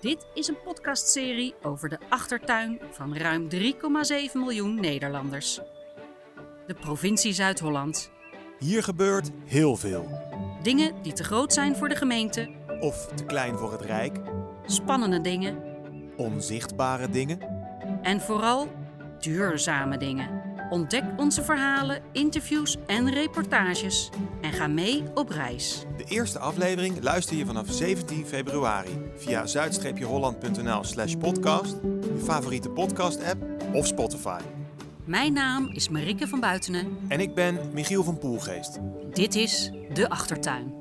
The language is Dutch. Dit is een podcastserie over de achtertuin van ruim 3,7 miljoen Nederlanders. De provincie Zuid-Holland. Hier gebeurt heel veel. Dingen die te groot zijn voor de gemeente, Of te klein voor het Rijk, spannende dingen onzichtbare dingen. en vooral duurzame dingen. Ontdek onze verhalen, interviews en reportages en ga mee op reis. De eerste aflevering luister je vanaf 17 februari via zuid-holland.nl slash podcast, je favoriete podcast-app of Spotify. Mijn naam is Marike van Buitenen. En ik ben Michiel van Poelgeest. Dit is De Achtertuin.